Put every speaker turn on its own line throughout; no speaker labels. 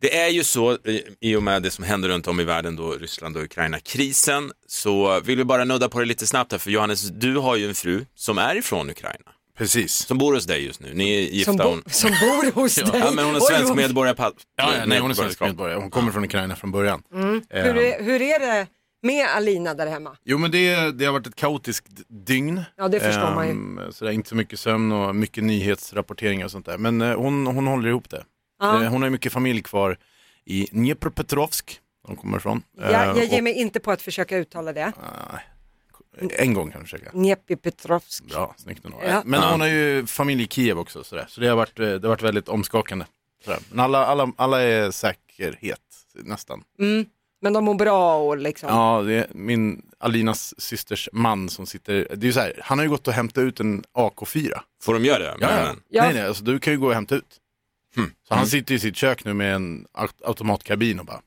Det är ju så, eh, i och med det som händer runt om i världen då, Ryssland och Ukraina-krisen, så vill vi bara nudda på det lite snabbt här, för Johannes, du har ju en fru som är ifrån Ukraina,
Precis.
som bor hos dig just nu. Ni är gifta.
Som, bo,
hon...
som bor hos dig.
Ja, men hon är
Oj,
svensk
oj.
medborgare. pa-
Ja, ja, nej, hon är svensk
medborgarskap.
medborgare. Hon kommer från Ukraina från början.
Mm. Hur
Ehm.
är, hur är det med Alina där hemma?
Jo, men det, det har varit ett kaotiskt dygn.
Ja, det förstår man ju.
ju. Sådär, inte så mycket sömn och mycket nyhetsrapporteringar och sånt där. Men eh, hon, hon håller ihop det.
Ja.
Eh, hon har ju mycket familj kvar i Dnepropetrovsk, där hon kommer ifrån.
Jag, jag
Eh,
ger mig inte på att försöka uttala det.
Ah. och, en gång kan jag försöka.
Njepi Petrovsk.
Bra, snyggt ändå.
Ja.
Men
Ja.
hon har ju familj i Kiev också, sådär. så det har varit, eh, det har varit väldigt omskakande. Sådär. Men alla, alla, alla är säkerhet, nästan.
Mm. Men de mår bra och liksom.
Ja, det är min Alinas systers man som sitter, det är ju så här, han har ju gått och hämtat ut en AK4.
Får de göra det? Hm. Men-
Ja.
Nej, nej, alltså du kan ju gå och hämta ut. Så
Mm.
han sitter i sitt kök nu med en au- automatkabin och bara,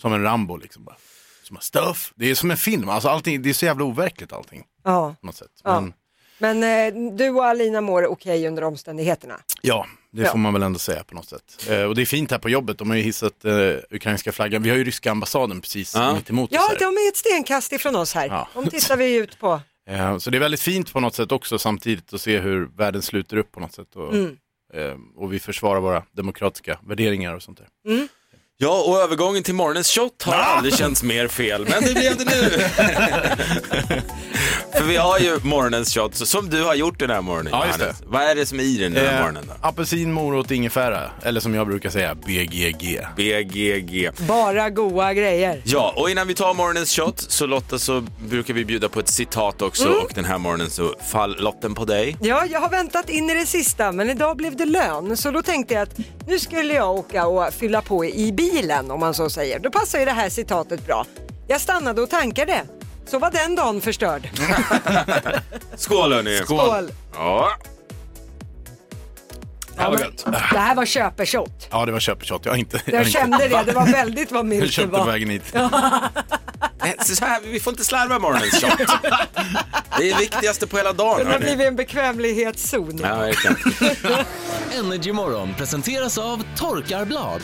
som en Rambo liksom bara. Som bara, stuff. Det är som en film, alltså allting, det är så jävla overkligt allting.
Ja.
På något sätt.
Ja.
Men
Men eh, du och Alina mår okej under omständigheterna.
ja, det
Ja.
får man väl ändå säga på något sätt. Eh, och det är fint här på jobbet, de har ju hissat eh, ukrainska flaggan. Vi har ju ryska ambassaden precis
Ja.
mittemot oss
Ja,
här.
de är ett stenkast ifrån oss här.
Ja.
De tittar vi ut på.
Eh, Så det är väldigt fint på något sätt också samtidigt att se hur världen sluter upp på något sätt. Och,
Mm.
eh, och vi försvarar våra demokratiska värderingar och sånt där.
Mm.
Ah!
Ja, och övergången till morgonens shot har aldrig känts mer fel, men det blev det nu. För vi har ju morgonens shot, så som du har gjort den här morgonen,
Ja, just
Johannes. Vad är det som är i den här morgonen då?
Eh, apelsin, morot, ingefära. Eller som jag brukar säga, BGG.
BGG.
Bara goa grejer.
Ja, och innan vi tar morgonens shot så Lotta så brukar vi bjuda på ett citat också och den här morgonen så fall lotten på dig.
Ja, jag har väntat in i det sista men idag blev det lön så då tänkte jag att nu skulle jag åka och fylla på i bilen om man så säger. Då passar ju det här citatet bra. Jag stannade och tankade. Så var den dagen förstörd.
Skål hörni!
Skål!
Ja. Det här var
men-
gött.
Det här var köpeshot.
Ja, det var köpeshot. Jag har inte... har
Jag
inte-
kände det, det var väldigt vad
Jag
milt det
köpte på
var.
vägen hit.
Nej, Så här, vi får inte slarva morgonens shot. Det är det viktigaste på hela dagen
Det har
hörni.
blivit en bekvämlighetszon.
Ja, verkligen.
Energy Morgon presenteras av Torkarblad.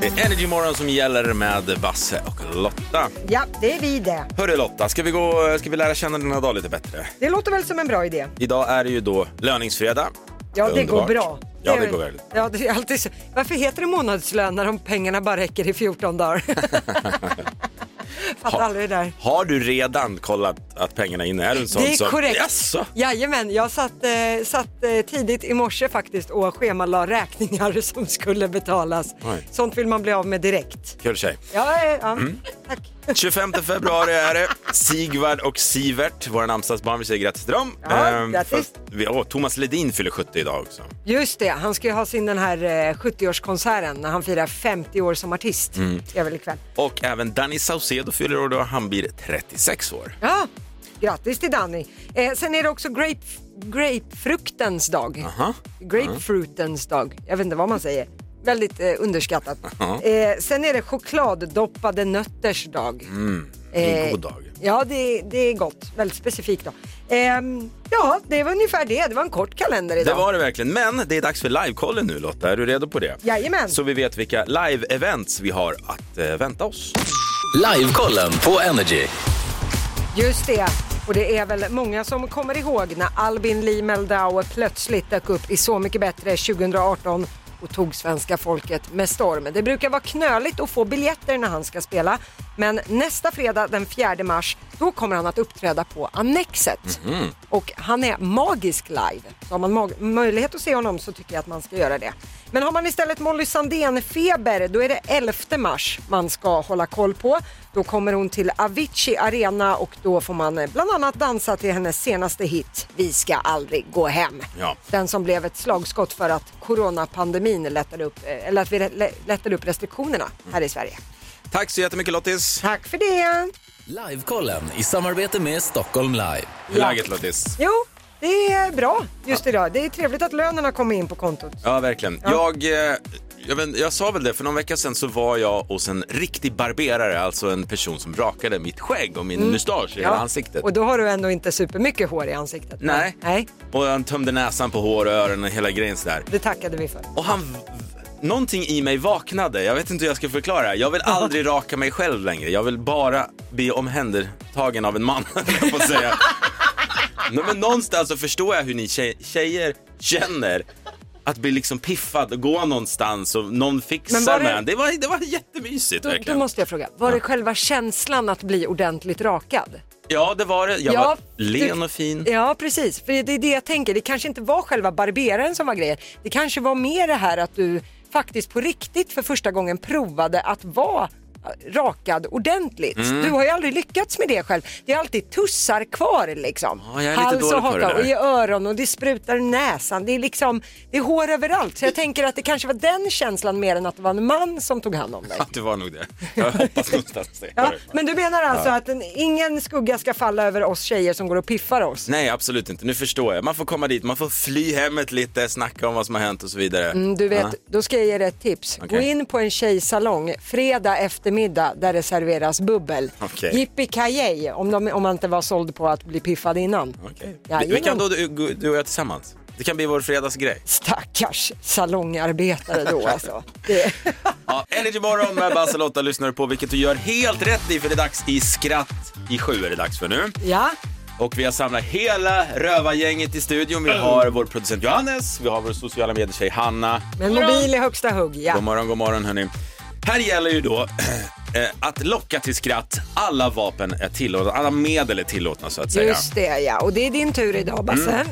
Det är Energy Morgon som gäller med Basse och Lotta.
Ja, det är vi det.
Hörru Lotta, ska vi, gå, ska vi lära känna den här dagen lite bättre?
Det låter väl som en bra idé.
Idag är det ju då löningsfredag.
Ja, det
Underbart.
går bra.
Ja, det går väldigt bra.
Ja, det är alltid så. Varför heter det månadslön när de pengarna bara räcker i 14 dagar? Fattar
Ha-
aldrig det där.
Har du redan kollat att pengarna är inne? Är du en sån
Det
som-
är korrekt.
Jaså?
Jajamän, jag satt, eh, satt eh, tidigt i morse faktiskt och schemalade räkningar som skulle betalas.
Oj. Mm.
Sånt vill man bli av med direkt.
Kul tjej.
Ja, eh, ja. tack.
25 februari är det. Sigvard och Sivert, våra namnsdagsbarn, vi säger grattis till dem.
Ja, grattis.
fast vi, åh, Thomas Ledin fyller 70 idag också.
Just det, han ska ju ha sin den här eh, 70-årskonserten när han firar 50 år som artist.
Mm.
Det är väl ikväll.
Och även Danny Saucedo fyller år, då han blir 36 år.
Ja, grattis till Danny. Eh, sen är det också grape, grapefruktens dag.
Aha.
Grapefruitens dag. Jag vet inte vad man säger. Väldigt eh, underskattat.
Ja.
Eh, sen är det chokladdoppade nötters dag.
Mm,
Eh,
det är en god dag.
Ja, det, det är gott. Väldigt specifikt då. Ehm, ja, det var ungefär det. Det var en kort kalender
Det
idag.
var det verkligen, men det är dags för livekollen nu Lotta, är du redo på det?
Jajamän.
Så vi vet vilka live-events vi har att eh, vänta oss.
Livekollen på Energy.
Just det. Och det är väl många som kommer ihåg när Albin Lee Meldau plötsligt dök upp i Så mycket bättre 2018 och tog svenska folket med storm. Det brukar vara knöligt att få biljetter när han ska spela, men nästa fredag den 4 mars, då kommer han att uppträda på Annexet.
Mhm.
Och han är magisk live. Så har man mag- möjlighet att se honom så tycker jag att man ska göra det. Men har man istället Molly Sandén-feber, då är det 11 mars man ska hålla koll på. Då kommer hon till Avicii Arena och då får man eh, bland annat dansa till hennes senaste hit, Vi ska aldrig gå hem.
Ja.
Den som blev ett slagskott för att coronapandemin lättade upp, eh, eller att vi lä- lättade upp restriktionerna här i Sverige.
Tack så jättemycket Lottis.
Tack för det!
Livekollen i samarbete med Stockholm Live.
Hur är läget Lottis?
Jo, det är bra just idag. Det är trevligt att lönerna kommer in på kontot.
Ja, verkligen. Jag eh, jag, vet, jag sa väl det, för någon vecka sedan så var jag hos en riktig barberare, alltså en person som rakade mitt skägg och min
Mm.
mustasch i hela ansiktet.
Och då har du ändå inte supermycket hår i ansiktet. va?
Nej.
Nej,
Och han tömde näsan på hår och öronen och hela grejen sådär.
det tackade vi för.
Och han... Någonting i mig vaknade, jag vet inte hur jag ska förklara. Jag vill aldrig raka mig själv längre. Jag vill bara bli omhändertagen av en man, höll jag på att säga. Nej, men någonstans så förstår jag hur ni tjej, tjejer känner. Att bli liksom piffad och gå någonstans och någon
Men
fixar
var det-
med en. Det var, det var jättemysigt
Då, då
verkligen.
måste jag fråga, var det själva känslan att bli ordentligt rakad?
Ja, det var det. Jag
Ja,
var
du-
len och fin.
Ja, precis. För det är det jag tänker. Det kanske inte var själva barberaren som var grejen. Det kanske var mer det här att du faktiskt på riktigt för första gången provade att vara rakad ordentligt.
Mm.
Du har ju aldrig lyckats med det själv. Det är alltid tussar kvar liksom.
Ja, jag är lite
och
dålig på det
haka
där.
och i öron och det sprutar i näsan. Det är liksom, det är hår överallt. Så jag tänker att det kanske var den känslan mer än att det var en man som tog hand om dig.
Ja, det var nog det. Jag hoppas någonstans det.
Ja, men du menar alltså att en, ingen skugga ska falla över oss tjejer som går och piffar oss?
Nej, absolut inte. Nu förstår jag. Man får komma dit, man får fly hemmet lite, snacka om vad som har hänt och så vidare.
Mm, Du vet,
Ja.
då ska jag ge dig ett tips.
Okej.
Gå in på en tjejsalong fredag eftermiddag där det serveras bubbel.
Okej.
Yippee-ki-yay om, de, om man inte var såld på att bli piffad innan.
Okej. Vi,
Jajamän.
vi kan då du, du och jag tillsammans. Det kan bli vår fredagsgrej.
Stackars salongarbetare då alltså. Det...
Ja, Energy morgon med Basse och Lotta lyssnar du på, vilket du gör helt rätt i för det är dags i skratt. I sju är det dags för nu.
Ja,
Och vi har samlat hela rövargänget i studion. Vi har vår producent Johannes, vi har vår sociala medier-tjej Hanna.
men mobil i högsta hugg. Ja.
God morgon, god morgon hörni. Här gäller ju då eh, att locka till skratt. Alla vapen är tillåtna, alla medel är tillåtna så att säga.
Just det ja, och det är din tur idag
Mm.
Basse.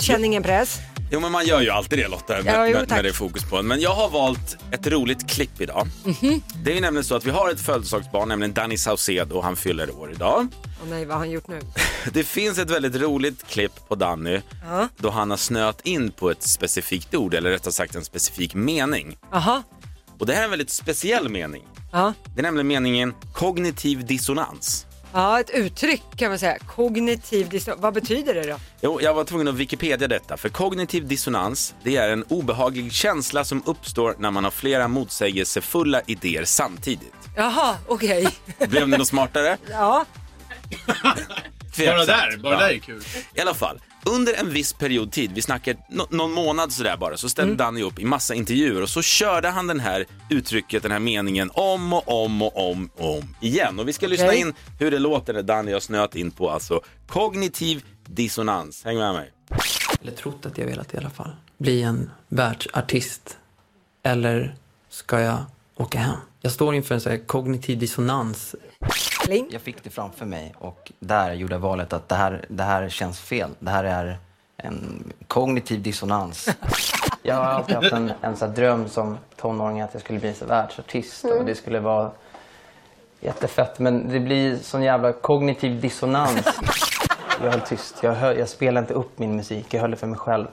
Känn ingen press.
Jo men man gör ju alltid det Lotta, med,
Ja, jo,
med,
tack.
med det fokus på en. Men jag har valt ett roligt klipp idag.
Mhm.
Det är ju nämligen så att vi har ett födelsedagsbarn, nämligen Danny Saucedo, och han fyller år idag.
Åh nej, vad har han gjort nu?
Det finns ett väldigt roligt klipp på Danny
Ja.
då han har snöat in på ett specifikt ord, eller rättare sagt en specifik mening.
Jaha,
Och det här är en väldigt speciell mening.
ja.
Det är nämligen meningen kognitiv dissonans.
ja, ett uttryck kan man säga. Kognitiv distans. Vad betyder det då?
Jo, jag var tvungen att Wikipedia detta, för kognitiv dissonans det är en obehaglig känsla som uppstår när man har flera motsägelsefulla idéer samtidigt.
Jaha, okej.
Blev ni något smartare?
Ja.
Bara
Tveksamt.
där, bara
Ja.
där är kul.
I alla fall, under en viss period tid, vi snackar nå- någon månad sådär bara, så
Mm.
ställde Danny upp i massa intervjuer och så körde han den här uttrycket, den här meningen om och om och om och om igen. Och vi ska lyssna
Okej.
in hur det låter när Danny har snöat in på alltså kognitiv dissonans. Häng med mig.
Eller trott att jag velat i alla fall. Bli en världsartist. Eller ska jag åka hem? Jag står inför en så här kognitiv dissonans.
Pling.
Jag fick det framför mig och där gjorde jag valet att det här, det här känns fel. Det här är en kognitiv dissonans. Jag har alltid haft en, en så här dröm som tonåring att jag skulle bli så här världsartist och det skulle vara jättefett. Men det blir sån jävla kognitiv dissonans. Jag höll tyst. Jag, hö, jag spelade inte upp min musik. Jag höll det för mig själv.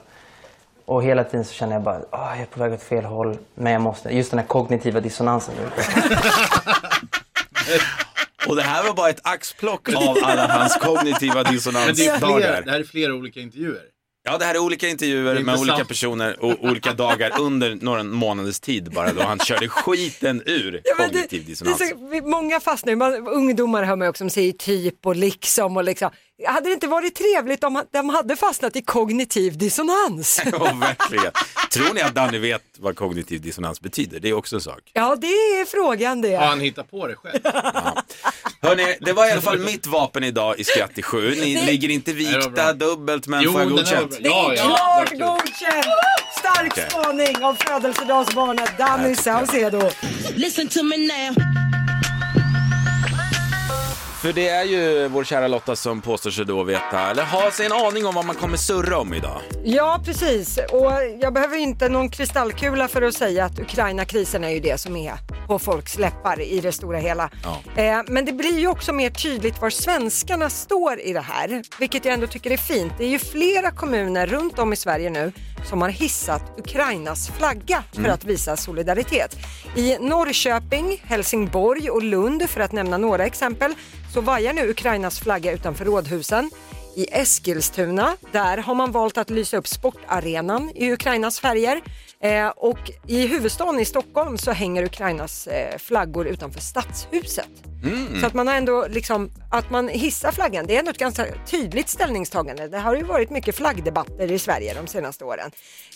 Och hela tiden så känner jag bara att jag är på väg åt fel håll. Men jag måste. Just den här kognitiva dissonansen.
Och det här var bara ett axplock av alla hans kognitiva
Men det, är flera, det
dissonansdagar.
här är flera olika intervjuer.
Ja, det här är olika intervjuer
Det är
med
intressant.
olika personer och olika dagar under några månaders tid bara då han körde skiten ur
Ja, men det,
kognitiv
det är
dissonans.
så, vi- många fastnar ju. Man- Ungdomar hör man ju också som säger typ och liksom och liksom. Hade det inte varit trevligt om de hade fastnat i kognitiv dissonans?
Ja, verkligen. Tror ni att Danny vet vad kognitiv dissonans betyder? Det är också en sak.
Ja, det är frågan det.
Ja, han hittar på det själv.
Hörni, det var i alla fall mitt vapen idag i Skratt i sju. Ni ligger inte
det var bra.
vikta dubbelt, men
Jo,
får jag
den här var
godkänt?
bra.
Det är
Ja, ja,
klart
verkligen.
godkänt! Stark
Okej.
spaning om födelsedagsbarnet Danny Saucedo.
Listen to me now.
För det är ju vår kära Lotta som påstår sig då veta, eller har sig en aning om vad man kommer surra om idag.
Ja, precis. Och jag behöver inte någon kristallkula för att säga att Ukraina-krisen är ju det som är på folks läppar i det stora hela.
Ja.
Eh, men det blir ju också mer tydligt var svenskarna står i det här, vilket jag ändå tycker är fint. Det är ju flera kommuner runt om i Sverige nu som har hissat Ukrainas flagga för att visa solidaritet. I Norrköping, Helsingborg och Lund, för att nämna några exempel, så vajar nu Ukrainas flagga utanför rådhusen. I Eskilstuna, där har man valt att lysa upp sportarenan i Ukrainas färger. Eh, och i huvudstaden i Stockholm så hänger Ukrainas eh, flaggor utanför stadshuset. Så att man har ändå liksom, att man hissar flaggan, det är ändå ett ganska tydligt ställningstagande. Det har ju varit mycket flaggdebatter i Sverige de senaste åren.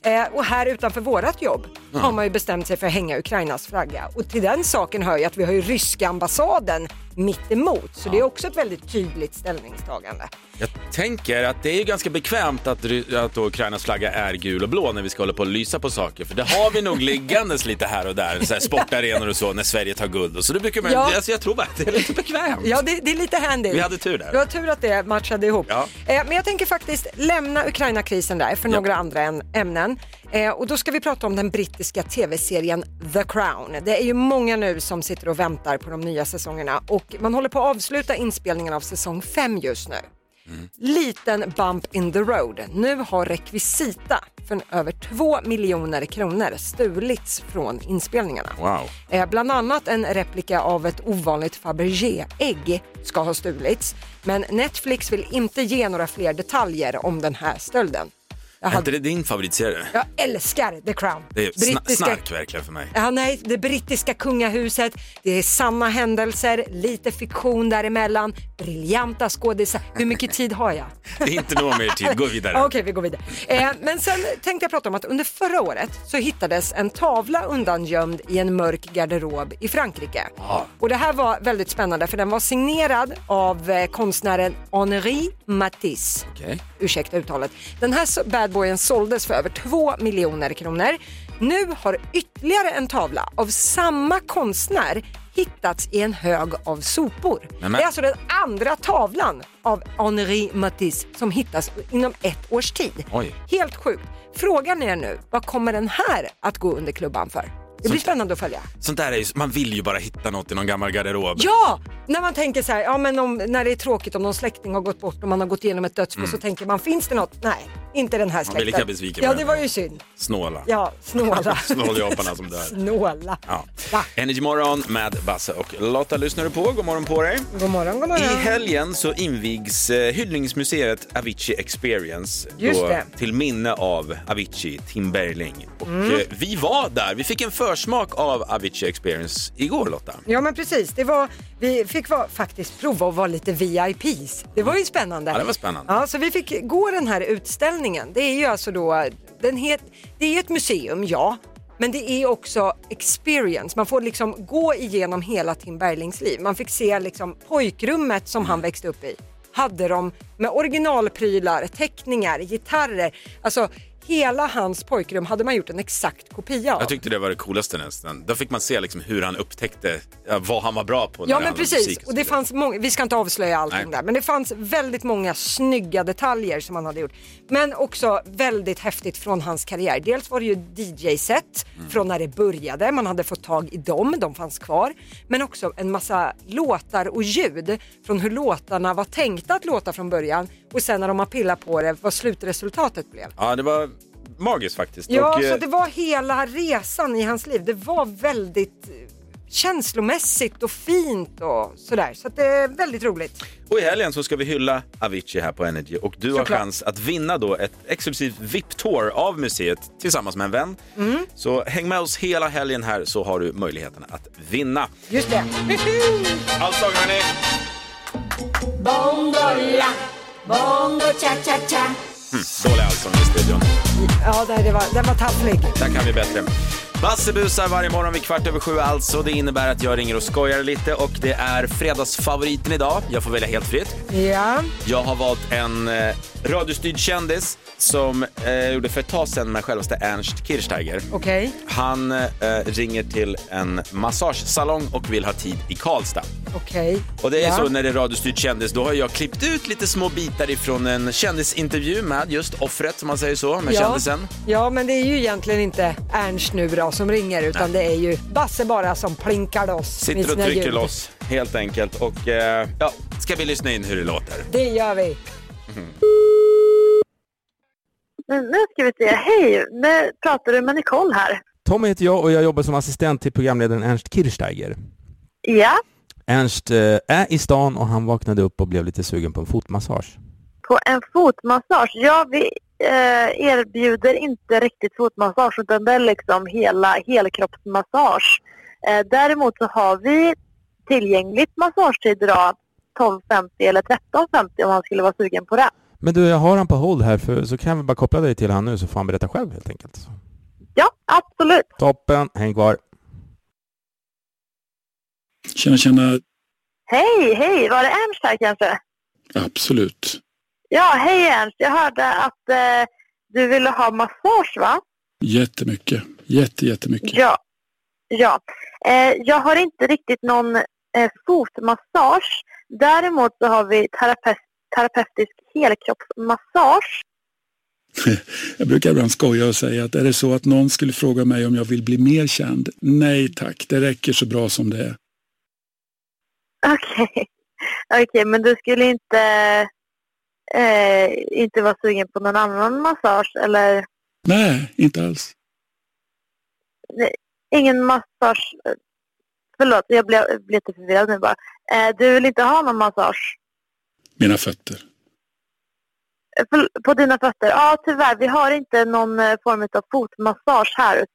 Eh, och här utanför vårat jobb har man ju bestämt sig för att hänga Ukrainas flagga. Och till den saken hör ju att vi har ju ryska ambassaden mitt emot. Så det är också ett väldigt tydligt ställningstagande.
Jag tänker att det är ju ganska bekvämt att, ry- att då Ukrainas flagga är gul och blå när vi ska hålla på och lysa på saker. För det har vi nog liggandes lite här och där, så här sportarenor och så, när Sverige tar guld. Och så det brukar man,
Ja.
alltså, jag tror bara att det är lite bekvämt.
Ja, det, det är lite handy.
Vi hade tur där.
Du har tur att det matchade ihop.
Ja.
Eh, men jag tänker faktiskt lämna Ukraina-krisen där för
Ja.
några andra än- ämnen. Eh, och då ska vi prata om den brittiska tv-serien The Crown. Det är ju många nu som sitter och väntar på de nya säsongerna och man håller på att avsluta inspelningen av säsong 5 just nu.
Mm.
Liten bump in the road. Nu har rekvisita för över 2 miljoner kronor stulits från inspelningarna.
Wow.
Eh, Bland annat en replika av ett ovanligt Fabergé-ägg ska ha stulits. Men Netflix vill inte ge några fler detaljer om den här stölden. Jag,
Är
hade,
inte det din favoritserie?
jag älskar The Crown.
Det är sna- snark verkligen för mig.
Ja, nej, det brittiska kungahuset, det är sanna händelser, lite fiktion däremellan, briljanta skådisar. Hur mycket tid har jag?
Det är inte nog mer tid, gå vidare.
Okej, vi går vidare. Eh, men sen tänkte jag prata om att under förra året så hittades en tavla undangömd i en mörk garderob i Frankrike. Och det här var väldigt spännande för den var signerad av eh, konstnären Henri Matisse.
Okej.
Ursäkta uttalet. Den här so- badboyen såldes för över 2 miljoner kronor. Nu har ytterligare en tavla av samma konstnär hittats i en hög av sopor.
Nämen.
Det är alltså den andra tavlan av Henri Matisse som hittas inom ett års tid.
Oj.
Helt sjukt. Frågan är nu, vad kommer den här att gå under klubban för? Det blir spännande att följa.
Sånt där är ju, man vill ju bara hitta något i någon gammal garderob.
Ja! När man tänker så här, ja, men om, när det är tråkigt om någon släkting har gått bort och man har gått igenom ett dödsbo så tänker man, finns det något? Nej, inte den här
blir
släkten.
Mm. lika besviken
Ja,
med
det
den.
var ju synd.
Snåla.
Ja, snåla.
Snåljaparna som dör.
Snåla.
Ja.
Va?
Energy Morgon med Basse och Lotta lyssnar du på. God morgon på dig.
God morgon, god morgon.
I helgen så invigs eh, hyllningsmuseet Avicii Experience
Just
då,
det.
till minne av Avicii, Tim Bergling. Och,
Mm.
eh, vi var där, vi fick en försmak av Avicii Experience igår Lotta.
Ja men precis, det var, vi fick va, faktiskt prova att vara lite VIPs. Det var ju spännande.
Mm. Ja, det var spännande.
Ja, så vi fick gå den här utställningen. Det är ju alltså då, den het, det är ett museum, ja. Men det är också experience. Man får liksom gå igenom hela Tim Berglings liv. Man fick se liksom pojkrummet som
Mm.
han växte upp i. Hade de med originalprylar, teckningar, gitarrer. Alltså hela hans pojkrum hade man gjort en exakt kopia av.
Jag tyckte det var det coolaste nästan. Där fick man se liksom hur han upptäckte ja, vad han var bra på. när
Ja
det
men
handlade om
precis,
musik
och
så
det
vidare.
fanns många, vi ska inte avslöja allting
Nej.
där, men det fanns väldigt många snygga detaljer som han hade gjort. Men också väldigt häftigt från hans karriär. Dels var det ju DJ-set
Mm.
från när det började, man hade fått tag i dem, de fanns kvar. Men också en massa låtar och ljud från hur låtarna var tänkta att låta från början och sen när de har pillat på det, vad slutresultatet blev.
Ja, det var magiskt faktiskt.
Ja,
Och, eh,
så det var hela resan i hans liv. Det var väldigt eh, känslomässigt och fint och sådär. Så att det är väldigt roligt.
Och i helgen så ska vi hylla Avicii här på Energy och du har
Såklart.
chans att vinna då ett exklusivt VIP-tour av museet tillsammans med en vän.
Mm,
Så häng med oss hela helgen här så har du möjligheten att vinna.
Just det.
Allt dagen hörni! Bongo la, bongo cha cha cha. Mm, dålig allsång i studion.
Ja, nej, det var, den var tafflig.
Där kan vi bättre. Basse busar varje morgon vid kvart över sju alltså. Det innebär att jag ringer och skojar lite och det är fredagsfavoriten idag. Jag får välja helt fritt.
Ja,
Jag har valt en eh, radiostyrd kändis som eh, gjorde för ett tag sedan med självaste Ernst Kirchsteiger.
okej.
Han eh, ringer till en massagesalong och vill ha tid i Karlstad.
Okej.
Och det är
ja.
så när det är radiostyrd kändis, då har jag klippt ut lite små bitar ifrån en kändisintervju med just offret, som man säger så, med kändisen.
Ja, men det är ju egentligen inte Ernst nu då som ringer utan det är ju Basse bara som plinkar loss. med
Sitter och
sina
trycker
ljud.
loss, helt enkelt. Och eh, ja, ska vi lyssna in hur det låter?
Det gör vi.
Men nu ska vi se. Hej, nu pratar du med Nicole här.
Tommy heter jag och jag jobbar som assistent till programledaren Ernst Kirchsteiger.
Ja,
Ernst eh, är i stan och han vaknade upp och blev lite sugen på en fotmassage.
på en fotmassage. Ja, vi, eh, erbjuder inte riktigt fotmassage utan det är liksom hela helkroppsmassage. Eh, däremot så har vi tillgängligt massagetid idag 12.50 eller 13.50 om han skulle vara sugen på det.
Men du, jag har han på hold här, för, så kan jag väl bara koppla dig till han nu så får han berätta själv helt enkelt.
Ja, absolut.
Toppen, häng kvar.
Tjena, tjena.
Hej, hej, var det Ernst här kanske?
Absolut.
Ja, hej Ernst. Jag hörde att eh, du ville ha massage va?
Jättemycket. Jätte, jättemycket.
Ja. ja. Eh, jag har inte riktigt någon eh, fotmassage. Däremot så har vi terape- terapeutisk helkroppsmassage.
Jag brukar ibland skoja och säga att är det så att någon skulle fråga mig om jag vill bli mer känd? Nej tack, det räcker så bra som det är.
Okej, Okej, men du skulle inte, eh, inte vara sugen på någon annan massage eller
Nej, inte alls.
ingen massage? eh, Förlåt, jag blev, blev lite förvirrad nu bara. Eh, du vill inte ha någon massage?
Mina fötter.
Eh, förl- På dina fötter? Ja, tyvärr. Vi har inte någon eh, form av fotmassage här.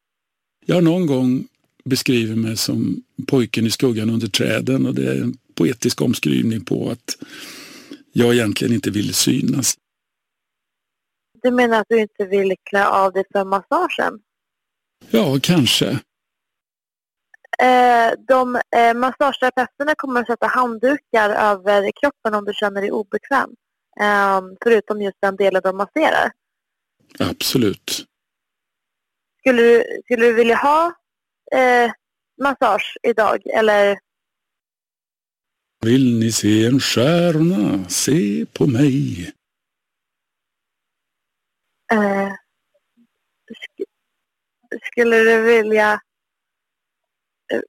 Jag har någon gång beskrivit mig som pojken i skuggan under träden och det är en poetisk omskrivning på att jag egentligen inte ville synas.
Du menar att du inte vill klä av dig för massagen?
Ja, kanske.
Eh, de eh, massageterapeuterna kommer att sätta handdukar över kroppen om du känner dig obekväm. Eh, förutom just den delen de masserar.
Absolut.
Skulle du, skulle du vilja ha eh, massage idag? Eller
Vill ni se en stjärna? Se på mig.
eh, sk- skulle du vilja... Eh,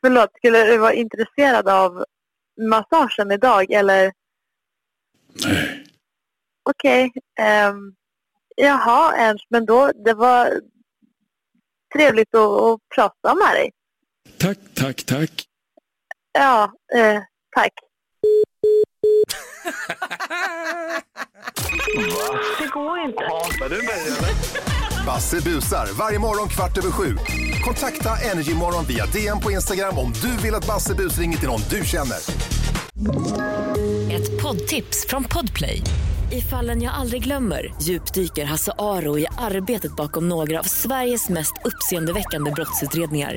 förlåt, skulle du vara intresserad av massagen idag? Eller
Nej.
Okej. ehm, jaha, Ernst, men då, det var trevligt att, att prata med dig.
Tack, tack, tack.
Ja, eh, tack.
Basse busar varje morgon kvart över sju. Kontakta Energymorgon via DM på Instagram om du vill att Basse bus ringer till någon du känner.
Ett poddtips från Podplay. I fallen jag aldrig glömmer djupdyker Hasse Aro i arbetet bakom några av Sveriges mest uppseendeväckande brottsutredningar.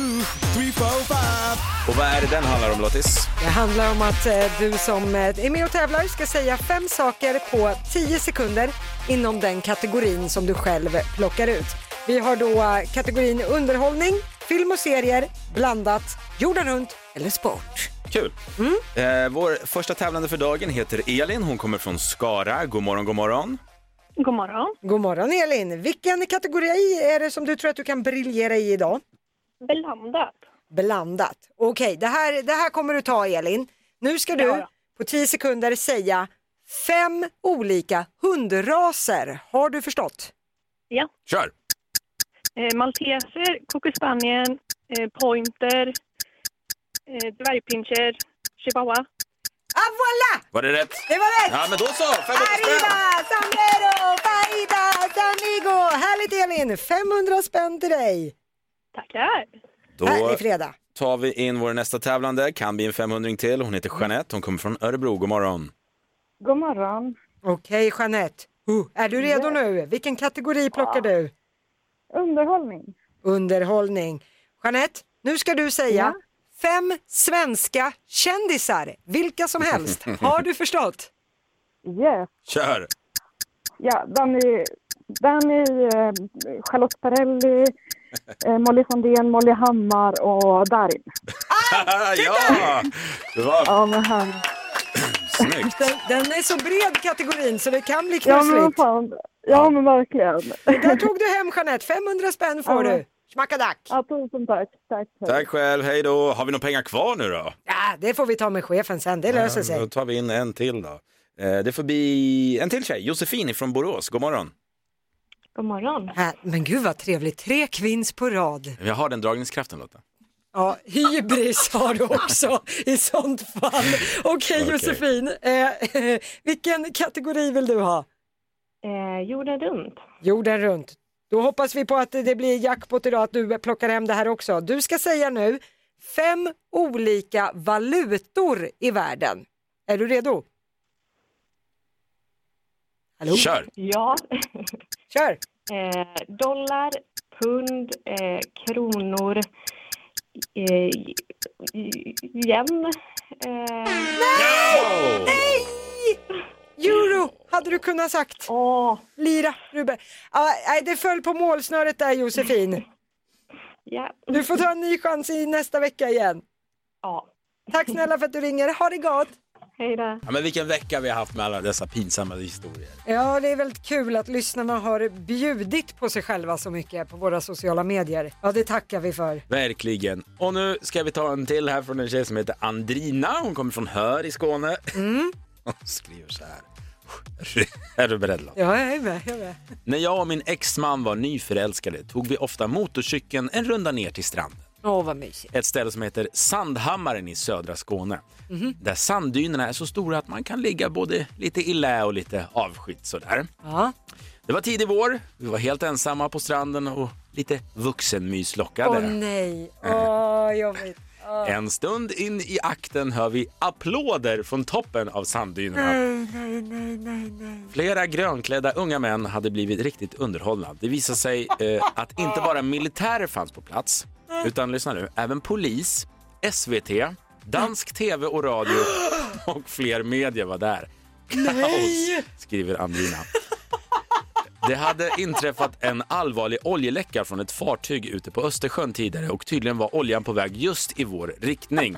Och vad är det den handlar om Lottis?
Det handlar om att eh, du som eh, är med och tävlar ska säga fem saker på 10 sekunder inom den kategorin som du själv plockar ut. Vi har då eh, kategorin underhållning, film och serier, blandat, jorden runt eller sport.
Kul.
Mm.
Eh, vår första tävlande för dagen heter Elin. Hon kommer från Skara. God morgon, god morgon.
God morgon.
God morgon Elin! Vilken kategori är det som du tror att du kan briljera i idag?
Blandat.
Blandat. Okej, det, här, det här kommer du ta Elin. Nu ska du
Ja, ja.
på 10 sekunder säga fem olika hundraser. Har du förstått?
Ja.
Kör!
Eh, Malteser, kokospaniel, eh, pointer, eh, dvärgpinscher, chihuahua.
Ah, voilà!
Var det rätt?
Det var rätt!
Ja, men då så! 500
Arriba,
spänn!
Samlero, Farida, Samigo! Härligt Elin! 500 spänn till dig.
Tackar.
Då
Härlig fredag.
tar vi in vår nästa tävlande. Kan bli en 500 till. Hon heter Jeanette. Hon kommer från Örebro. God morgon.
God morgon.
Okej Jeanette, uh, är du redo nu? Vilken kategori plockar du?
Underhållning.
Underhållning. Jeanette, nu ska du säga fem svenska kändisar, vilka som helst. Har du förstått?
Yes.
Kör!
Ja, Danny, Danny eh, Charlotte Perrelli, eh, Molly Sandén, Molly Hammar och Darin.
Ah,
ja! Det var
Ja, men han...
snyggt.
Den, den är så bred kategorin så det kan bli
Ja, men vad
knussligt.
fan. Ja, men verkligen.
Där tog du hem Jeanette, 500 spänn får
Ja.
du. Schmackadack!
Ja, tusen tack. Tack.
Tack själv, hej då. Har vi några pengar kvar nu då?
Ja, det får vi ta med chefen sen, det löser sig.
Då tar vi in en till då. Eh, Det får bli en till tjej, Josefin från Borås. God morgon.
God morgon. Äh, Men gud vad trevligt, tre kvinns på rad.
Jag har den dragningskraften Lotta.
Ja, hybris har du också i sånt fall. Okej
Okej.
Josefin, eh, vilken kategori vill du ha? Eh, jorden runt. Jorden runt. Då hoppas vi på att det blir jackpot idag, att du plockar hem det här också. Du ska säga nu fem olika valutor i världen. Är du redo? Hallå?
Kör!
Ja.
Kör!
Eh, dollar, pund, eh, kronor, eh, j- j- yen. Eh,
Oh!
Nej! Euro hade du kunnat sagt. Lira, rubel. Ja, nej, det föll på målsnöret där Josefin.
Ja.
Du får ta en ny chans i nästa vecka igen. Ja. Tack snälla för att du ringer. Ha det gott! Hej då.
Ja, men vilken vecka vi har haft med alla dessa pinsamma historier.
Ja, det är väldigt kul att lyssnarna har bjudit på sig själva så mycket på våra sociala medier. Ja, det tackar vi för.
Verkligen. Och nu ska vi ta en till här från en tjej som heter Andrina. Hon kommer från Hör i Skåne. Hon skriver så här. Är du beredd Lotta?
Ja, jag är med. Jag är med.
När jag och min exman var nyförälskade tog vi ofta motorcykeln en runda ner till stranden.
Åh, vad mysigt.
Ett ställe som heter Sandhammaren i södra Skåne. Mhm. Där sanddynerna är så stora att man kan ligga både lite i lä och lite avskilt sådär.
Ja.
Det var tidig vår, vi var helt ensamma på stranden och lite vuxenmys lockade.
Åh nej, åh jobbigt. Åh.
En stund in i akten hör vi applåder från toppen av sanddynerna.
Nej, nej, nej, nej, nej.
Flera grönklädda unga män hade blivit riktigt underhållna. Det visade sig eh, att inte bara militärer fanns på plats, utan lyssna nu, även polis, SVT, dansk tv och radio och fler medier var där.
Nej!
skriver Andrina. Det hade inträffat en allvarlig oljeläcka från ett fartyg ute på Östersjön tidigare och tydligen var oljan på väg just i vår riktning.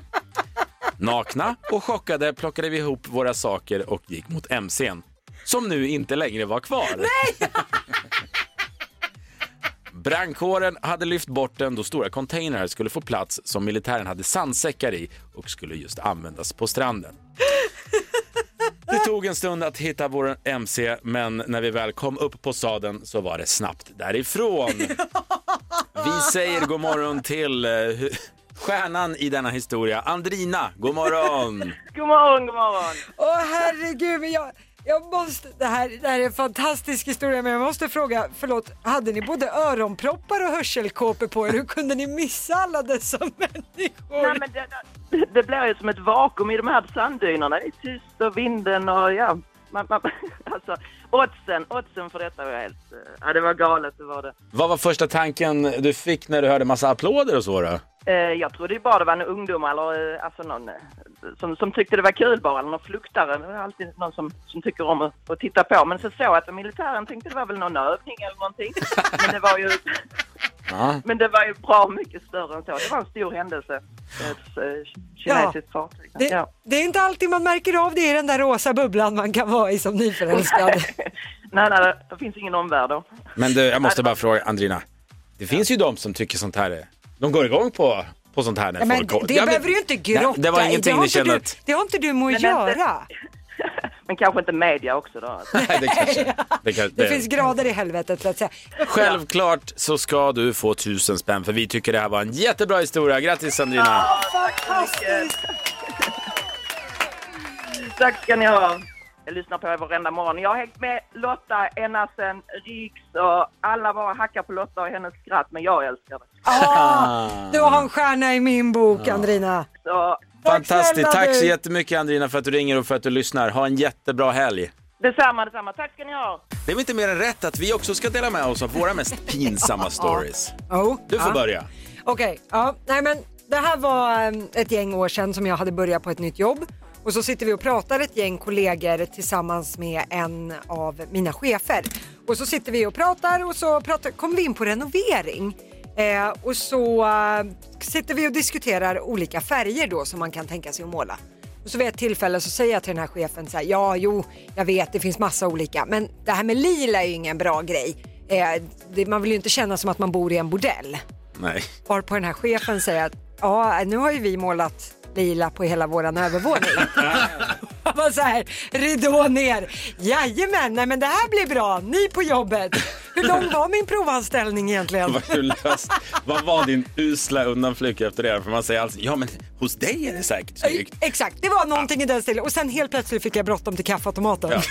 Nakna och chockade plockade vi ihop våra saker och gick mot MCn som nu inte längre var kvar. Nej! Brandkåren hade lyft bort den då stora containrar skulle få plats som militären hade sandsäckar i och skulle just användas på stranden. Det tog en stund att hitta vår MC, men när vi väl kom upp på sadeln så var det snabbt därifrån. Vi säger god morgon till eh, hu- stjärnan i denna historia, Andrina. God morgon!
God morgon, god morgon. Åh herregud, men jag, jag måste, det här, det här är en fantastisk historia men jag måste fråga, förlåt, hade ni både öronproppar och hörselkåpor på er? Hur kunde ni missa alla dessa människor?
Nej, men det, det, det blir ju som ett vakuum i de här sanddynerna. Det är tyst och vinden och ja. Man, man, alltså, oddsen, oddsen för detta var helt... eh, Ja, det var galet, det var det.
Vad var första tanken du fick när du hörde massa applåder och så då?
Eh, jag trodde ju bara det var en ungdom eller eh, alltså någon eh, som, som tyckte det var kul bara, eller någon fluktare. Det var alltid någon som, som tycker om att, att titta på. Men så såg jag att militären tänkte det var väl någon övning eller någonting. Men det var ju,
Ja.
men det var ju bra mycket större än så. Det var en stor händelse. Ett eh, kinesiskt fartyg.
Det,
Ja.
det är inte alltid man märker av det i den där rosa bubblan man kan vara i som nyförälskad.
Nej, nej, det finns ingen omvärld då.
Men du, jag måste bara fråga Andrina. Det finns ju de som tycker sånt här är... De går igång på, på sånt här när
Nej, men
folk...
det
Ja, men-
behöver du ju inte grotta
Nej, Det var
i.
ingenting
har
ni
inte
kände
du-
att...
Det har inte du med att göra.
Men kanske inte media också då. alltså.
Det kan,
Det finns grader i helvetet så att säga.
Självklart så ska du få tusen spänn för vi tycker det här var en jättebra historia. Grattis Sandrina!
Fantastiskt!
Tack ska ni ha. Jag lyssnar på er varenda morgon. Jag har hängt med Lotta ända sedan Riks och alla bara hackar på Lotta och hennes skratt, men jag älskar det.
Ah, du har en stjärna i min bok Andrina.
Så,
Fantastiskt!
snälla
Tack så
du.
jättemycket Andrina för att du ringer och för att du lyssnar. Ha en jättebra helg!
detsamma, detsamma. Tack ska ni ha.
Det är väl inte mer än rätt att vi också ska dela med oss av våra mest pinsamma stories.
Oh,
Du får
ja.
börja.
Okej, ja, nej men det här var eh, ett gäng år sedan som jag hade börjat på ett nytt jobb och så sitter vi och pratar ett gäng kollegor tillsammans med en av mina chefer och så sitter vi och pratar och så pratar, kommer vi in på renovering eh, och så eh, sitter vi och diskuterar olika färger då som man kan tänka sig att måla. Och så vid ett tillfälle så säger jag till den här chefen så här, ja jo jag vet det finns massa olika men det här med lila är ju ingen bra grej. Eh, det, man vill ju inte känna som att man bor i en bordell.
Nej.
Var på den här chefen säger att ja, nu har ju vi målat lila på hela våran övervåning. Han var så här, ridå ner. Jajamän, nej men det här blir bra, ni på jobbet. Hur lång var min provanställning egentligen?
Vad, du löst. Vad var din usla undanflykt efter det? För man säger alltid, ja men hos dig är det säkert snyggt.
Exakt, det var någonting i den stilen och sen helt plötsligt fick jag bråttom till kaffeautomaten.
Ja.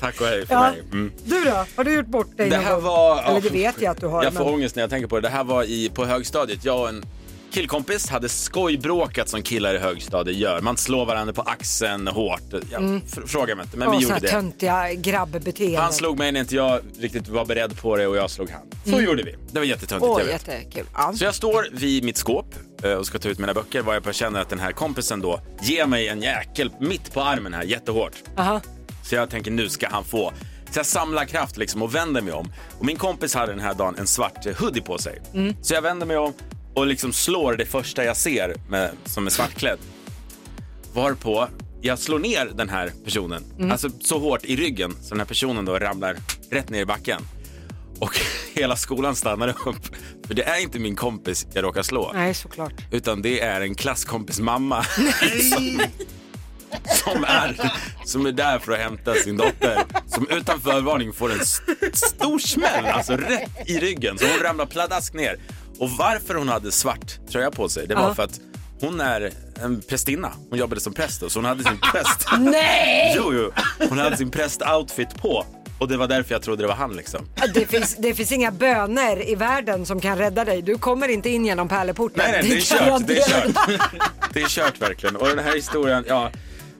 Tack och hej för
Ja.
mig. Mm.
Du då, har du gjort bort dig
Det
någon
här
gång?
var...
Eller det vet jag att du har.
Jag får
men-
ångest när jag tänker på det. Det här var i, på högstadiet. Jag och en killkompis hade skojbråkat som killar i högstadiet gör. Man slår varandra på axeln hårt. Jag
Mm.
fr- frågar mig inte, men
Ja,
vi
såna
gjorde
här
det.
töntiga grabbbeteenden.
Han slog mig när inte jag riktigt var beredd på det och jag slog han. Så
Mm.
gjorde vi. Det var jättetöntigt,
Åh,
jag vet.
jättekul. Ja.
Så jag står vid mitt skåp eh, och ska ta ut mina böcker varpå jag känner att den här kompisen då ger mig en jäkel mitt på armen här jättehårt.
Aha.
Så jag tänker nu ska han få. Så jag samlar kraft liksom och vänder mig om. Och min kompis hade den här dagen en svart eh, hoodie på sig.
Mm.
Så jag vänder mig om och liksom slår det första jag ser med, som är svartklädd. Varpå jag slår ner den här personen,
Mm.
alltså så hårt i ryggen så den här personen då ramlar rätt ner i backen. Och hela skolan stannar upp. För det är inte min kompis jag råkar slå.
Nej, såklart.
Utan det är en klasskompis mamma som, som, är, som är där för att hämta sin dotter som utan förvarning får en st- stor smäll, alltså rätt i ryggen. Så hon ramlar pladask ner. Och varför hon hade svart tröja på sig, det var
Ja.
för att hon är en prästinna. Hon jobbade som präst då, så hon hade sin präst...
Nej!
Jo, jo. Hon hade sin prästoutfit på och det var därför jag trodde det var han liksom.
Det finns, det finns inga böner i världen som kan rädda dig. Du kommer inte in genom pärleporten.
Nej, nej, det är
kan jag
kört. Det är
dela-
kört. Det är kört verkligen. Och den här historien, ja.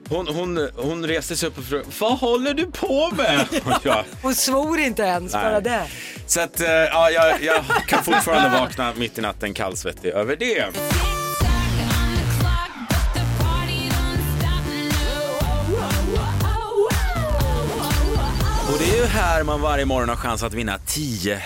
Hon, hon, hon reste sig upp och frågade, vad håller du på med? Och jag,
Hon svor inte ens,
Nej.
bara det.
så att, eh, ja, jag, jag kan fortfarande vakna mitt i natten kallsvettig över det. Och det är ju här man varje morgon har chans att vinna 10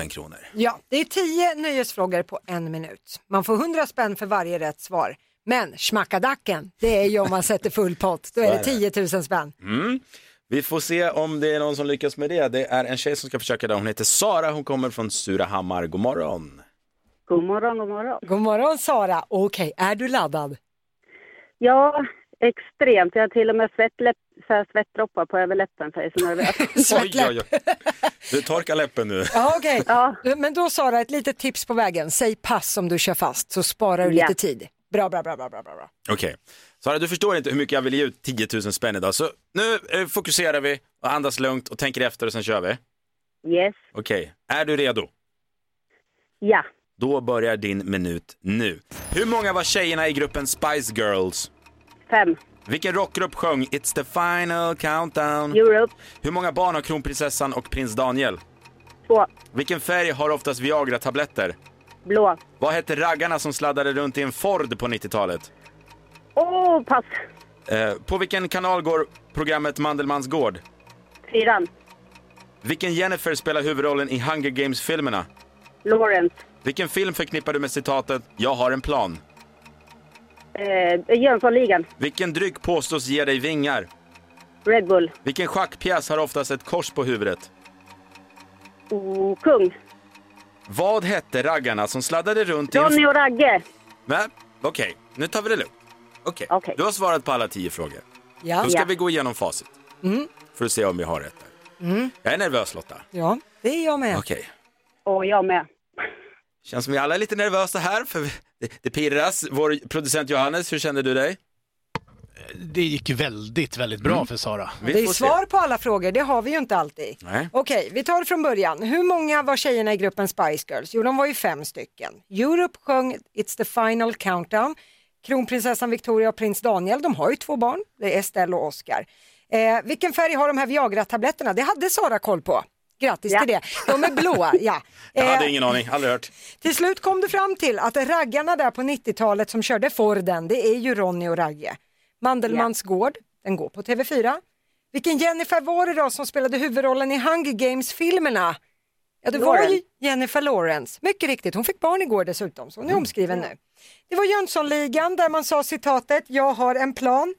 000 kronor.
Ja, det är tio nöjesfrågor på en minut. Man får 100 spänn för varje rätt svar. Men schmackadacken, det är ju om man sätter full pott. Då
Så
är
är
det 10 000 spänn.
Mm. Vi får se om det är någon som lyckas med det. Det är en tjej som ska försöka det. Hon heter Sara. Hon kommer från Surahammar. God morgon.
God morgon, god morgon.
God morgon Sara. Okej, är du laddad?
Ja, extremt. Jag har till och med svettläpp, så här svettdroppar på överläppen för jag är så nervös.
Oj, oj, oj. Du torkar läppen nu.
Ja, okej. Men då Sara, ett litet tips på vägen. Säg pass om du kör fast så sparar du
Ja.
lite tid. Bra, bra, bra, bra, bra, bra. bra.
Okej. Sara, du förstår inte hur mycket jag vill ge ut 10 000 spänn idag. Så nu eh, fokuserar vi och andas lugnt och tänker efter och sen kör vi.
Yes,
Okej, är du redo?
ja.
Då börjar din minut nu. Hur många var tjejerna i gruppen Spice Girls?
Fem.
Vilken rockgrupp sjöng It's the final countdown?
Europe.
Hur många barn har kronprinsessan och prins Daniel?
Två.
Vilken färg har oftast Viagra-tabletter?
Blå.
Vad hette raggarna som sladdade runt i en Ford på 90-talet?
Åh, pass.
Eh, på vilken kanal går programmet Mandelmans gård?
Fyran.
Vilken Jennifer spelar huvudrollen i Hunger Games-filmerna?
Lawrence.
Vilken film förknippar du med citatet “Jag har en plan”?
Eh, Jönssonligan.
Vilken dryck påstås ge dig vingar?
Red Bull.
Vilken schackpjäs har oftast ett kors på huvudet?
Oh, kung.
Vad hette raggarna som sladdade runt i en...
Ronny och Ragge.
Nej, Okej, nu tar vi det lugnt. Okej, du har svarat på alla tio frågor.
Ja.
Då ska
Ja.
vi gå igenom facit
Mm,
för att se om vi har rätt. där.
mm.
Jag är nervös Lotta.
Ja, det är jag med.
Okej.
Och jag med.
Känns som vi alla är lite nervösa här, för vi- det, det pirras. Vår producent Johannes, hur kände du dig? Mm.
Det gick väldigt, väldigt bra för Sara.
Det är svar på alla frågor, det har vi ju inte alltid.
Nej.
Okej, vi tar det från början. Hur många var tjejerna i gruppen Spice Girls? Jo, de var ju fem stycken. Europe sjöng It's the final countdown. Kronprinsessan Victoria och prins Daniel, de har ju två barn, det är Estelle och Oscar. Eh, vilken färg har de här Viagra-tabletterna? Det hade Sara koll på. Grattis till det. De är blåa, ja.
Jag
Eh,
hade ingen aning, aldrig hört.
till slut kom du fram till att raggarna där på 90-talet som körde Forden, det är ju Ronny och Ragge. Mandelmans gård, den går på TV4. Vilken Jennifer var det då som spelade huvudrollen i Hunger Games-filmerna? Ja, det var ju
Lawrence.
Jennifer Lawrence. Mycket riktigt, hon fick barn igår dessutom, så hon är omskriven
Mm.
nu. Det var Jönssonligan där man sa citatet “Jag har en plan”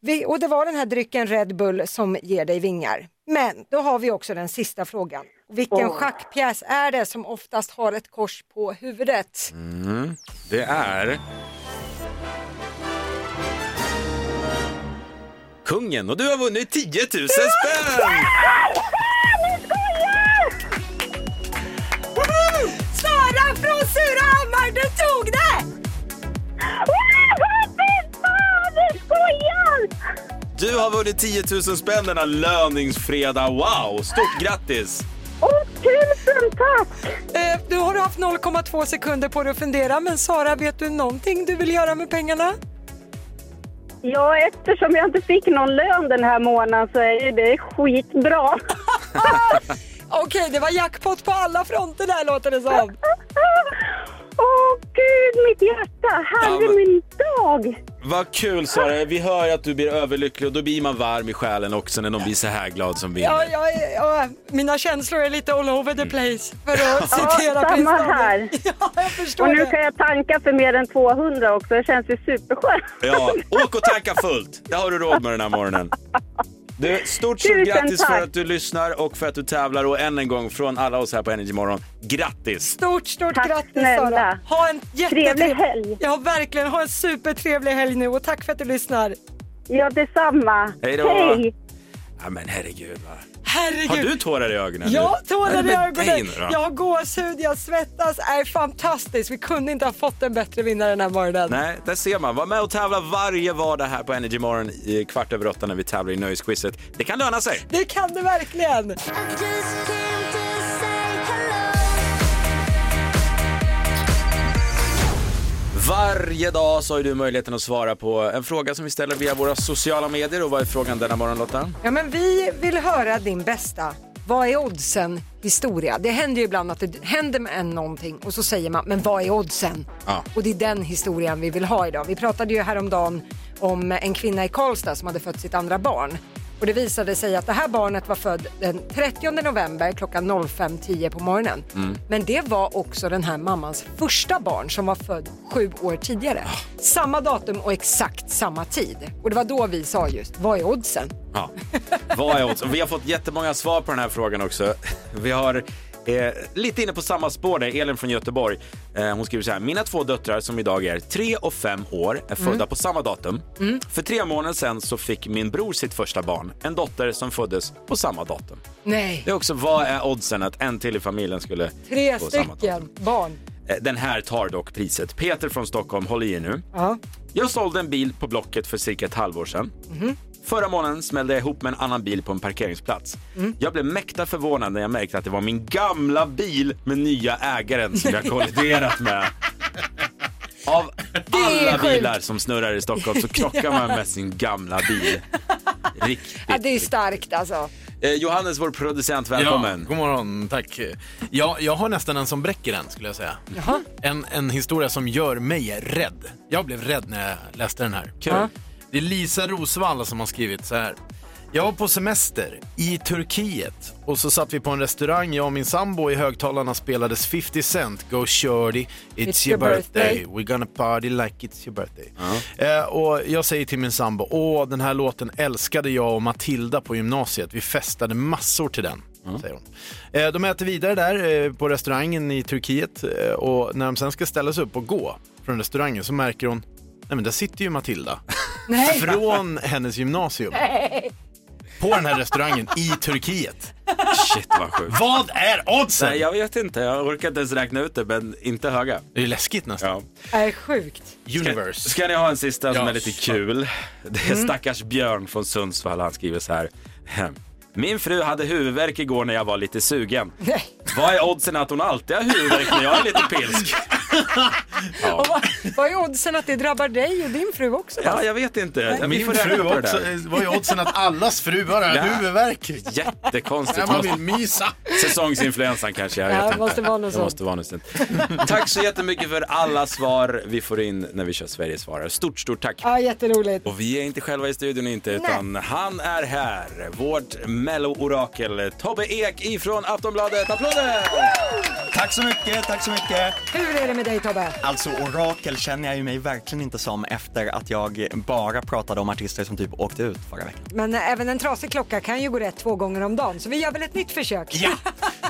Vi, och det var den här drycken Red Bull som ger dig vingar. Men då har vi också den sista frågan. Och vilken schackpjäs är det som oftast har ett kors på huvudet?
Mm. Det är... Kungen och du har vunnit 10 000 spänn!
Sara från Surahammar, du tog det!
Du har vunnit 10 000 spänn denna löningsfredag. Wow! Stort grattis!
Tusen tack! Eh, du har haft 0,2 sekunder på dig att fundera, men Sara, vet du någonting du vill göra med pengarna?
Ja, eftersom jag inte fick någon lön den här månaden så är ju det skitbra.
Okej, det var jackpot på alla fronter där låter det som.
Åh gud, mitt hjärta! Herre
Ja, men-
min dag!
Vad kul Sara, vi hör ju att du blir överlycklig och då blir man varm i själen också när de blir så här glad som vinner.
Ja, ja, ja, mina känslor är lite all over the place för att
Mm. Ja,
citera
samma
Prince Daniel.
här.
Ja, jag förstår
Och nu
det.
kan jag tanka för mer än 200 också. Det känns ju superskönt.
Ja, åk och tanka fullt. Det har du råd med den här morgonen. Du, stort, stort
Tusen
grattis
tack.
för att du lyssnar och för att du tävlar och än en gång från alla oss här på Energy Morgon, grattis!
Stort, stort grattis Sara. Ha en Trevlig helg. Ja, verkligen. Ha en supertrevlig helg nu och tack för att du lyssnar.
Ja, detsamma.
Hej då. Hej. Ja, men herregud. Va?
Herregud.
Har du tårar i ögonen? nu?
Ja,
Vad
tårar
är det
i
med dig
ögonen.
nu då?
Jag har gåshud, jag svettas. är fantastiskt. Vi kunde inte ha fått en bättre vinnare den här morgonen.
Nej, där ser man. Var med och tävla varje vardag här på Energy Morgon i kvart över åtta när vi tävlar i nöjesquizet. Det kan löna sig.
Det kan du verkligen.
Varje dag så har ju du möjligheten att svara på en fråga som vi ställer via våra sociala medier. Och vad är frågan denna morgon Lotta?
Ja, men vi vill höra din bästa. Vad är oddsen historia? Det händer ju ibland att det händer med en någonting och så säger man, men vad är oddsen?
Ja.
Och det är den historien vi vill ha idag. Vi pratade ju häromdagen om en kvinna i Karlstad som hade fött sitt andra barn. Och det visade sig att det här barnet var född den 30 november klockan 05.10 på morgonen. Men det var också den här mammans första barn som var född sju år tidigare. Samma datum och exakt samma tid. Och det var då vi sa just, vad är oddsen?
Ja. Vad är oddsen? Vi har fått jättemånga svar på den här frågan också. Vi har eh, lite inne på samma spår där, Elin från Göteborg. Eh, hon skriver så här. Mina två döttrar som idag är tre och fem år är
Mm.
födda på samma datum.
Mm.
För tre månader sedan så fick min bror sitt första barn, en dotter som föddes på samma datum.
Nej,
Det är också, vad är oddsen att en till i familjen skulle
tre
få samma
stycken barn.
Eh, Den här tar dock priset. Peter från Stockholm, håll i er nu.
Ja.
Jag sålde en bil på Blocket för cirka ett halvår sedan.
Mhm.
Förra månaden smällde jag ihop med en annan bil på en parkeringsplats.
Mm.
Jag blev mäkta förvånad när jag märkte att det var min gamla bil med nya ägaren som jag kolliderat med. Av
är
alla
sjukt.
bilar som snurrar i Stockholm så krockar man med sin gamla bil. Riktigt.
Ja, det är starkt alltså.
Eh, Johannes, vår producent, välkommen.
god morgon, tack. Ja, jag har nästan en som bräcker en skulle jag säga.
Jaha.
En, en historia som gör mig rädd. Jag blev rädd när jag läste den här.
Kul. Ja.
Det är Lisa Rosvall som har skrivit så här. Jag var på semester i Turkiet och så satt vi på en restaurang, jag och min sambo i högtalarna spelades 50 Cent, Go Shorty, It's,
It's
your
your
birthday, we're gonna party like it's your birthday. Eh, och jag säger till min sambo, åh den här låten älskade jag och Matilda på gymnasiet, vi festade massor till den.
Mm.
Säger hon. Eh, de äter vidare där eh, på restaurangen i Turkiet eh, och när de sen ska ställa sig upp och gå från restaurangen så märker hon, nej men där sitter ju Matilda.
Nej.
Från hennes gymnasium
Nej.
på den här restaurangen i Turkiet.
Shit vad sjukt.
Vad är oddsen?
Nej, jag vet inte. Jag orkar inte ens räkna ut det, men inte höga.
Det är läskigt nästan.
Ja.
Är sjukt.
Universe. Ska, ska ni ha en sista som
Ja,
är lite
så.
kul? Det är
Mm.
stackars Björn från Sundsvall. Han skriver så här. Min fru hade huvudvärk igår när jag var lite sugen. Vad är oddsen att hon alltid har huvudvärk när jag är lite pilsk? Ja.
Och vad, vad är oddsen att det drabbar dig och din fru också?
Ja, jag vet inte.
Min
Vi får
fru
räkna på det
också.
där.
Eh, Vad är oddsen att allas fruar har
Ja.
huvudvärk?
Jättekonstigt.
Man vill mysa.
Säsongsinfluensan kanske, jag
Ja,
vet
det
inte.
måste vara något
det
sånt.
måste vara något sånt. Tack så jättemycket för alla svar vi får in när vi kör Sveriges svarar. Stort, stort tack.
Ja, jätteroligt.
Och vi är inte själva i studion inte, utan han är här. Vårt mello-orakel, Tobbe Ek ifrån Aftonbladet. Applåder!
Tack så mycket, tack så mycket.
Hur är det med dig Tobbe?
Alltså orakel känner jag ju mig verkligen inte som efter att jag bara pratade om artister som typ åkte ut förra veckan.
Men även en trasig klocka kan ju gå rätt två gånger om dagen, så vi gör väl ett nytt försök.
Ja,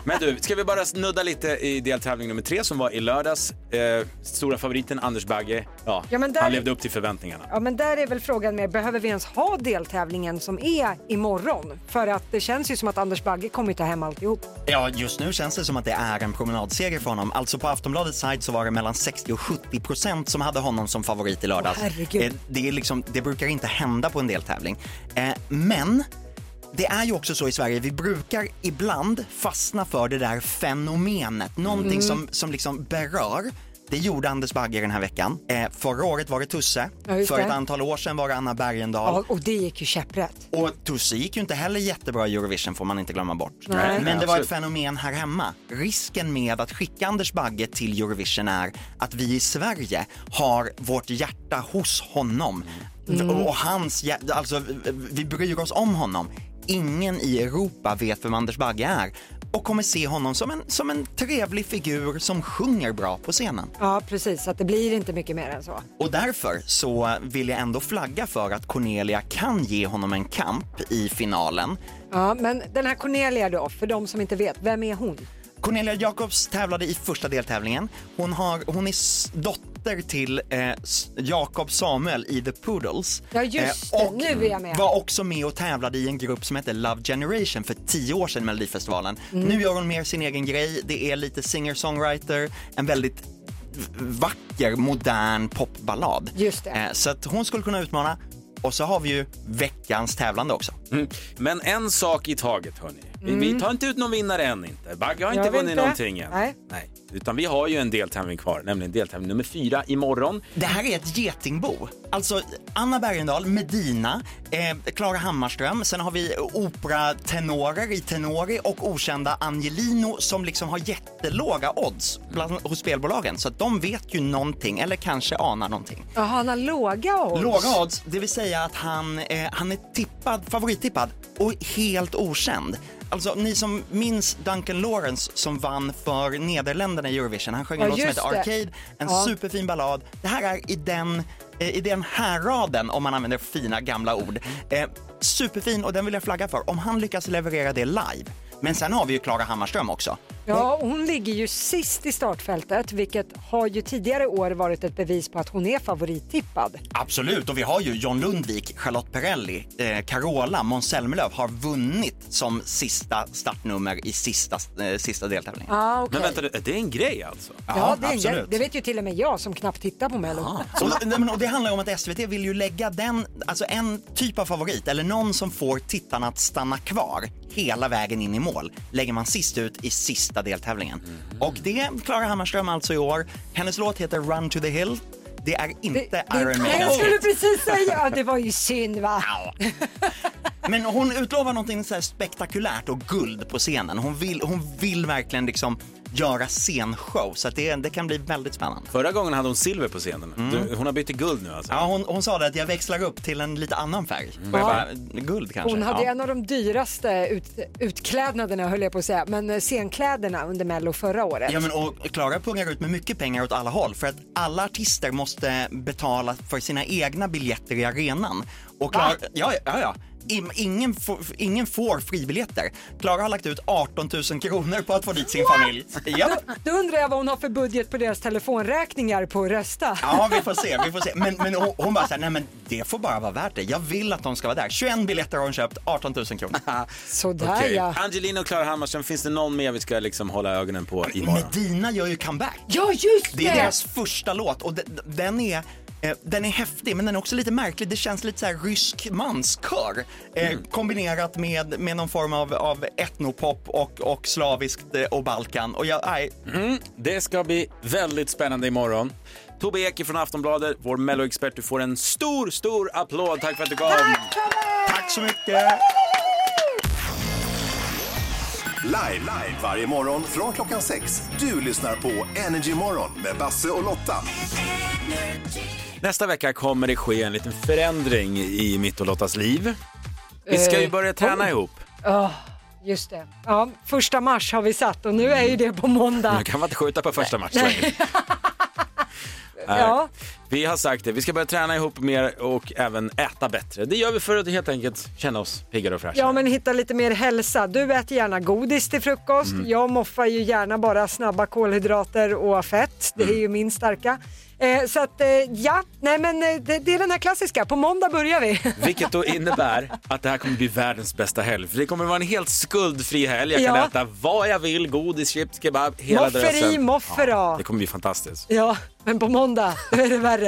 Men du, ska vi bara snudda lite i deltävling nummer tre som var i lördags. Eh, stora favoriten Anders Bagge, ja,
Ja, men där-
han levde upp till förväntningarna.
Ja, men där är väl frågan mer, behöver vi ens ha deltävlingen som är imorgon? För att det känns ju som att Anders Bagge kommer ju ta hem alltihop.
Ja, just nu känns det som att det är en promenadseger för honom. Alltså på Aftonbladets sajt så var det mellan 60 och 70 procent som hade honom som favorit i lördags.
Åh, herregud.
Eh, det, är liksom, det brukar inte hända på en deltävling. Eh, men det är ju också så i Sverige, vi brukar ibland fastna för det där fenomenet, någonting
Mm.
som, som liksom berör. Det gjorde Anders Bagge den här veckan. Eh, förra året var det Tusse,
Ja, just
för
det.
ett antal år sedan var det Anna Bergendahl.
Ja, och det gick ju käpprätt.
Och Tusse gick ju inte heller jättebra i Eurovision får man inte glömma bort.
Nej.
Men det var
Absolut.
ett fenomen här hemma. Risken med att skicka Anders Bagge till Eurovision är att vi i Sverige har vårt hjärta hos honom.
Mm.
Och hans hjärta, alltså vi bryr oss om honom. Ingen i Europa vet vem Anders Bagge är och kommer se honom som en, som en trevlig figur som sjunger bra på scenen.
Ja, precis. Så att det blir inte mycket mer än så.
Och därför så vill jag ändå flagga för att Cornelia kan ge honom en kamp i finalen.
Ja, men den här Cornelia då, för de som inte vet, vem är hon?
Cornelia Jacobs tävlade i första deltävlingen. Hon, har, hon är s- dotter till eh, S- Jakob Samuel i The Poodles. Eh,
Ja, just det. Nu är jag med.
var också med och tävlade i en grupp som hette Love Generation för tio år sedan i Melodifestivalen.
Mm.
Nu gör hon mer sin egen grej. Det är lite singer-songwriter, en väldigt v- vacker, modern popballad.
Just det.
Eh, så att hon skulle kunna utmana. Och så har vi ju veckans tävlande också.
Mm. Men en sak i taget hörni. Vi-
Mm.
Vi tar inte ut någon vinnare än inte. Bagge har
Gör
inte
vi
vunnit
inte?
någonting än.
Nej.
Utan vi har ju en deltävling kvar, nämligen deltävling nummer fyra imorgon.
Det här är ett getingbo. Alltså Anna Bergendahl, Medina, eh, Clara Hammarström, sen har vi operatenorer i Tenori och okända Angelino som liksom har jättelåga odds bland, hos spelbolagen. Så att de vet ju någonting, eller kanske anar någonting.
Jaha, han har låga odds.
Låga odds, det vill säga att han, eh, han är tippad, favorittippad och helt okänd. Alltså ni som minns Duncan Lawrence som vann för Nederländerna i Eurovision. Han sjöng en
Ja,
låt som
just
heter
det.
Arcade, en
Ja.
superfin ballad. Det här är i den, eh, i den här raden om man använder fina gamla ord. Eh, superfin och den vill jag flagga för om han lyckas leverera det live. Men sen har vi ju Klara Hammarström också.
Ja, hon ligger ju sist i startfältet, vilket har ju tidigare år varit ett bevis på att hon är favorittippad.
Absolut, och vi har ju John Lundvik, Charlotte Perrelli, eh, Carola, Måns Zelmerlöw har vunnit som sista startnummer i sista, eh, sista deltävlingen.
Ah, okej.
Men vänta, det är en grej alltså?
det, är en grej. det vet ju till och med jag som knappt tittar på Mello.
Och, nej, men, och det handlar ju om att SVT vill ju lägga den, alltså en typ av favorit eller någon som får tittarna att stanna kvar hela vägen in i mål lägger man sist ut i sista deltävlingen.
Mm.
Och det är Klara Hammarström alltså i år. Hennes låt heter Run to the Hill. Det är inte Iron Maiden.
Jag skulle precis säga att det var ju synd va?
Men hon utlovar någonting så här spektakulärt och guld på scenen. Hon vill, hon vill verkligen liksom göra scenshow så att det, det kan bli väldigt spännande. Mm.
Förra gången hade hon silver på scenen. Du, hon har bytt till guld nu alltså. Mm.
Ja, hon, hon sa det att jag växlar upp till en lite annan färg. Och jag
Ja.
bara, guld kanske.
Hon hade
ja.
en av de dyraste ut, utklädnaderna höll jag på att säga, men eh, scenkläderna under Mello förra året.
Ja, men och Klara pungar ut med mycket pengar åt alla håll för att alla artister måste betala för sina egna biljetter i arenan. Och Klara, ja, ja, ja. Im- Ingen får, ingen får fribiljetter. Klara har lagt ut 18 000 kronor på att få dit sin familj. Japp.
Då undrar jag vad hon har för budget på deras telefonräkningar på att rösta.
Ja, vi får se. Vi får se. Men, men hon, hon bara så här, nej men det får bara vara värt det. Jag vill att de ska vara där. 21 biljetter har hon köpt, 18 000 kronor.
Sådär
Okej. Angelina och Klara Hammarström, finns det någon mer vi ska liksom hålla ögonen på imorgon?
Medina gör ju comeback.
Ja, just
Det är
det!
deras första låt och de- de- den är eh, den är häftig men den är också lite märklig. Det känns lite så här rysk manskör eh,
Mm.
kombinerat med, med någon form av, av etnopop och, och slaviskt eh, och Balkan. Och jag, nej,
Mm, det ska bli väldigt spännande imorgon. Tobbe Ek från Aftonbladet, vår Melloexpert, du får en stor, stor applåd. Tack för att du kom.
Tack så mycket.
Live, live varje morgon från klockan sex. Du lyssnar på Energy Morgon med Basse och Lotta.
Nästa vecka kommer det ske en liten förändring i mitt och Lottas liv. Vi ska ju
Eh,
börja träna
oj.
ihop.
Ja, just det. Ja, första mars har vi satt och
Mm,
nu är ju det på måndag.
Nu kan man inte skjuta på första matchen längre.
Ja.
Eh, Vi har sagt det, vi ska börja träna ihop mer och även äta bättre. Det gör vi för att helt enkelt känna oss piggare och fräschare.
Ja, men hitta lite mer hälsa. Du äter gärna godis till frukost.
Mm.
Jag moffar ju gärna bara snabba kolhydrater och fett. Det
Mm.
är ju min starka. Eh, så att, eh, ja, nej men eh, det, det är den här klassiska. På måndag börjar vi.
Vilket då innebär att det här kommer bli världens bästa helg. För det kommer vara en helt skuldfri helg. Jag kan
Ja.
äta vad jag vill, godis, chips, kebab, hela
Mofferi,
drösen.
moffera.
Ja, det kommer bli fantastiskt.
Ja, men på måndag, då är det värre.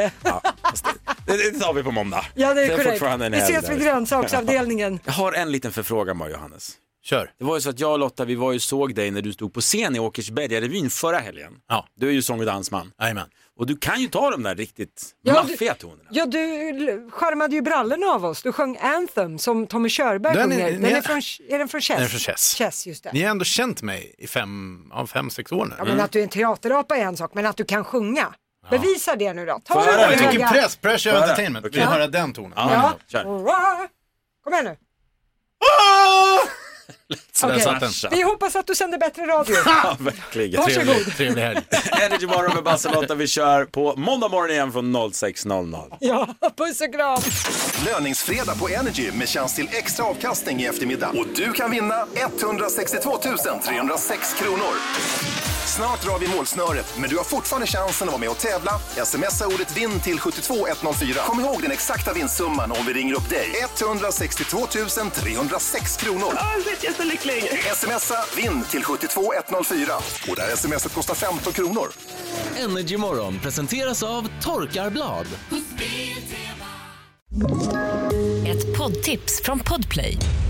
Det, det tar vi på måndag.
Ja, det
Det
är
är
korrekt.
fortfarande en
Vi
helg
ses vid
där.
grönsaksavdelningen.
Jag har en liten förfrågan bara Johannes.
Kör.
Det var ju så att jag och Lotta, vi var ju såg dig när du stod på scen i Åkersbergarevyn förra helgen. Ja. Du är ju sång och dansman.
Jajamän.
Och du kan ju ta de där riktigt
Ja, du-
maffiga tonerna.
Ja, du l- charmade ju brallorna av oss. Du sjöng Anthem som Tommy Körberg
Den är-
sjunger.
ni-
Den är, från, är den från Chess?
Den är från Chess.
just det.
Ni Mm. har ändå känt mig i fem, ja, fem sex år nu.
Ja,
Mm.
men att du är en teaterapa är en sak, men att du kan sjunga. Bevisa det nu då. Ta
Får
det
höra?
på
Vilken
höga-
press, pressure
Får höra?
entertainment. Vi
Ja.
höra den tonen.
Ja. Kom igen nu.
Ah!
där
Okej.
satt den.
Vi hoppas att du sänder bättre radio.
Ja, verkligen.
Varsågod. Trevlig-
trevlig helg.
Energy Morgon med Basse och Lotta. Vi kör på måndag morgon igen från 06.00.
Ja, puss och kram.
Löningsfredag på Energy med chans till extra avkastning i eftermiddag. Och du kan vinna 162 306 kronor. Snart drar vi målsnöret, men du har fortfarande chansen att vara med och tävla. Smsa ordet VINN till 72104. Kom ihåg den exakta vinstsumman om vi ringer upp dig. 162 306 kronor.
Ah!
Jättelycklig! Smsa VINN till 72104. Och det här smset kostar 15 kronor.
Energy Morgon presenteras av Torkarblad.
Ett poddtips från Podplay.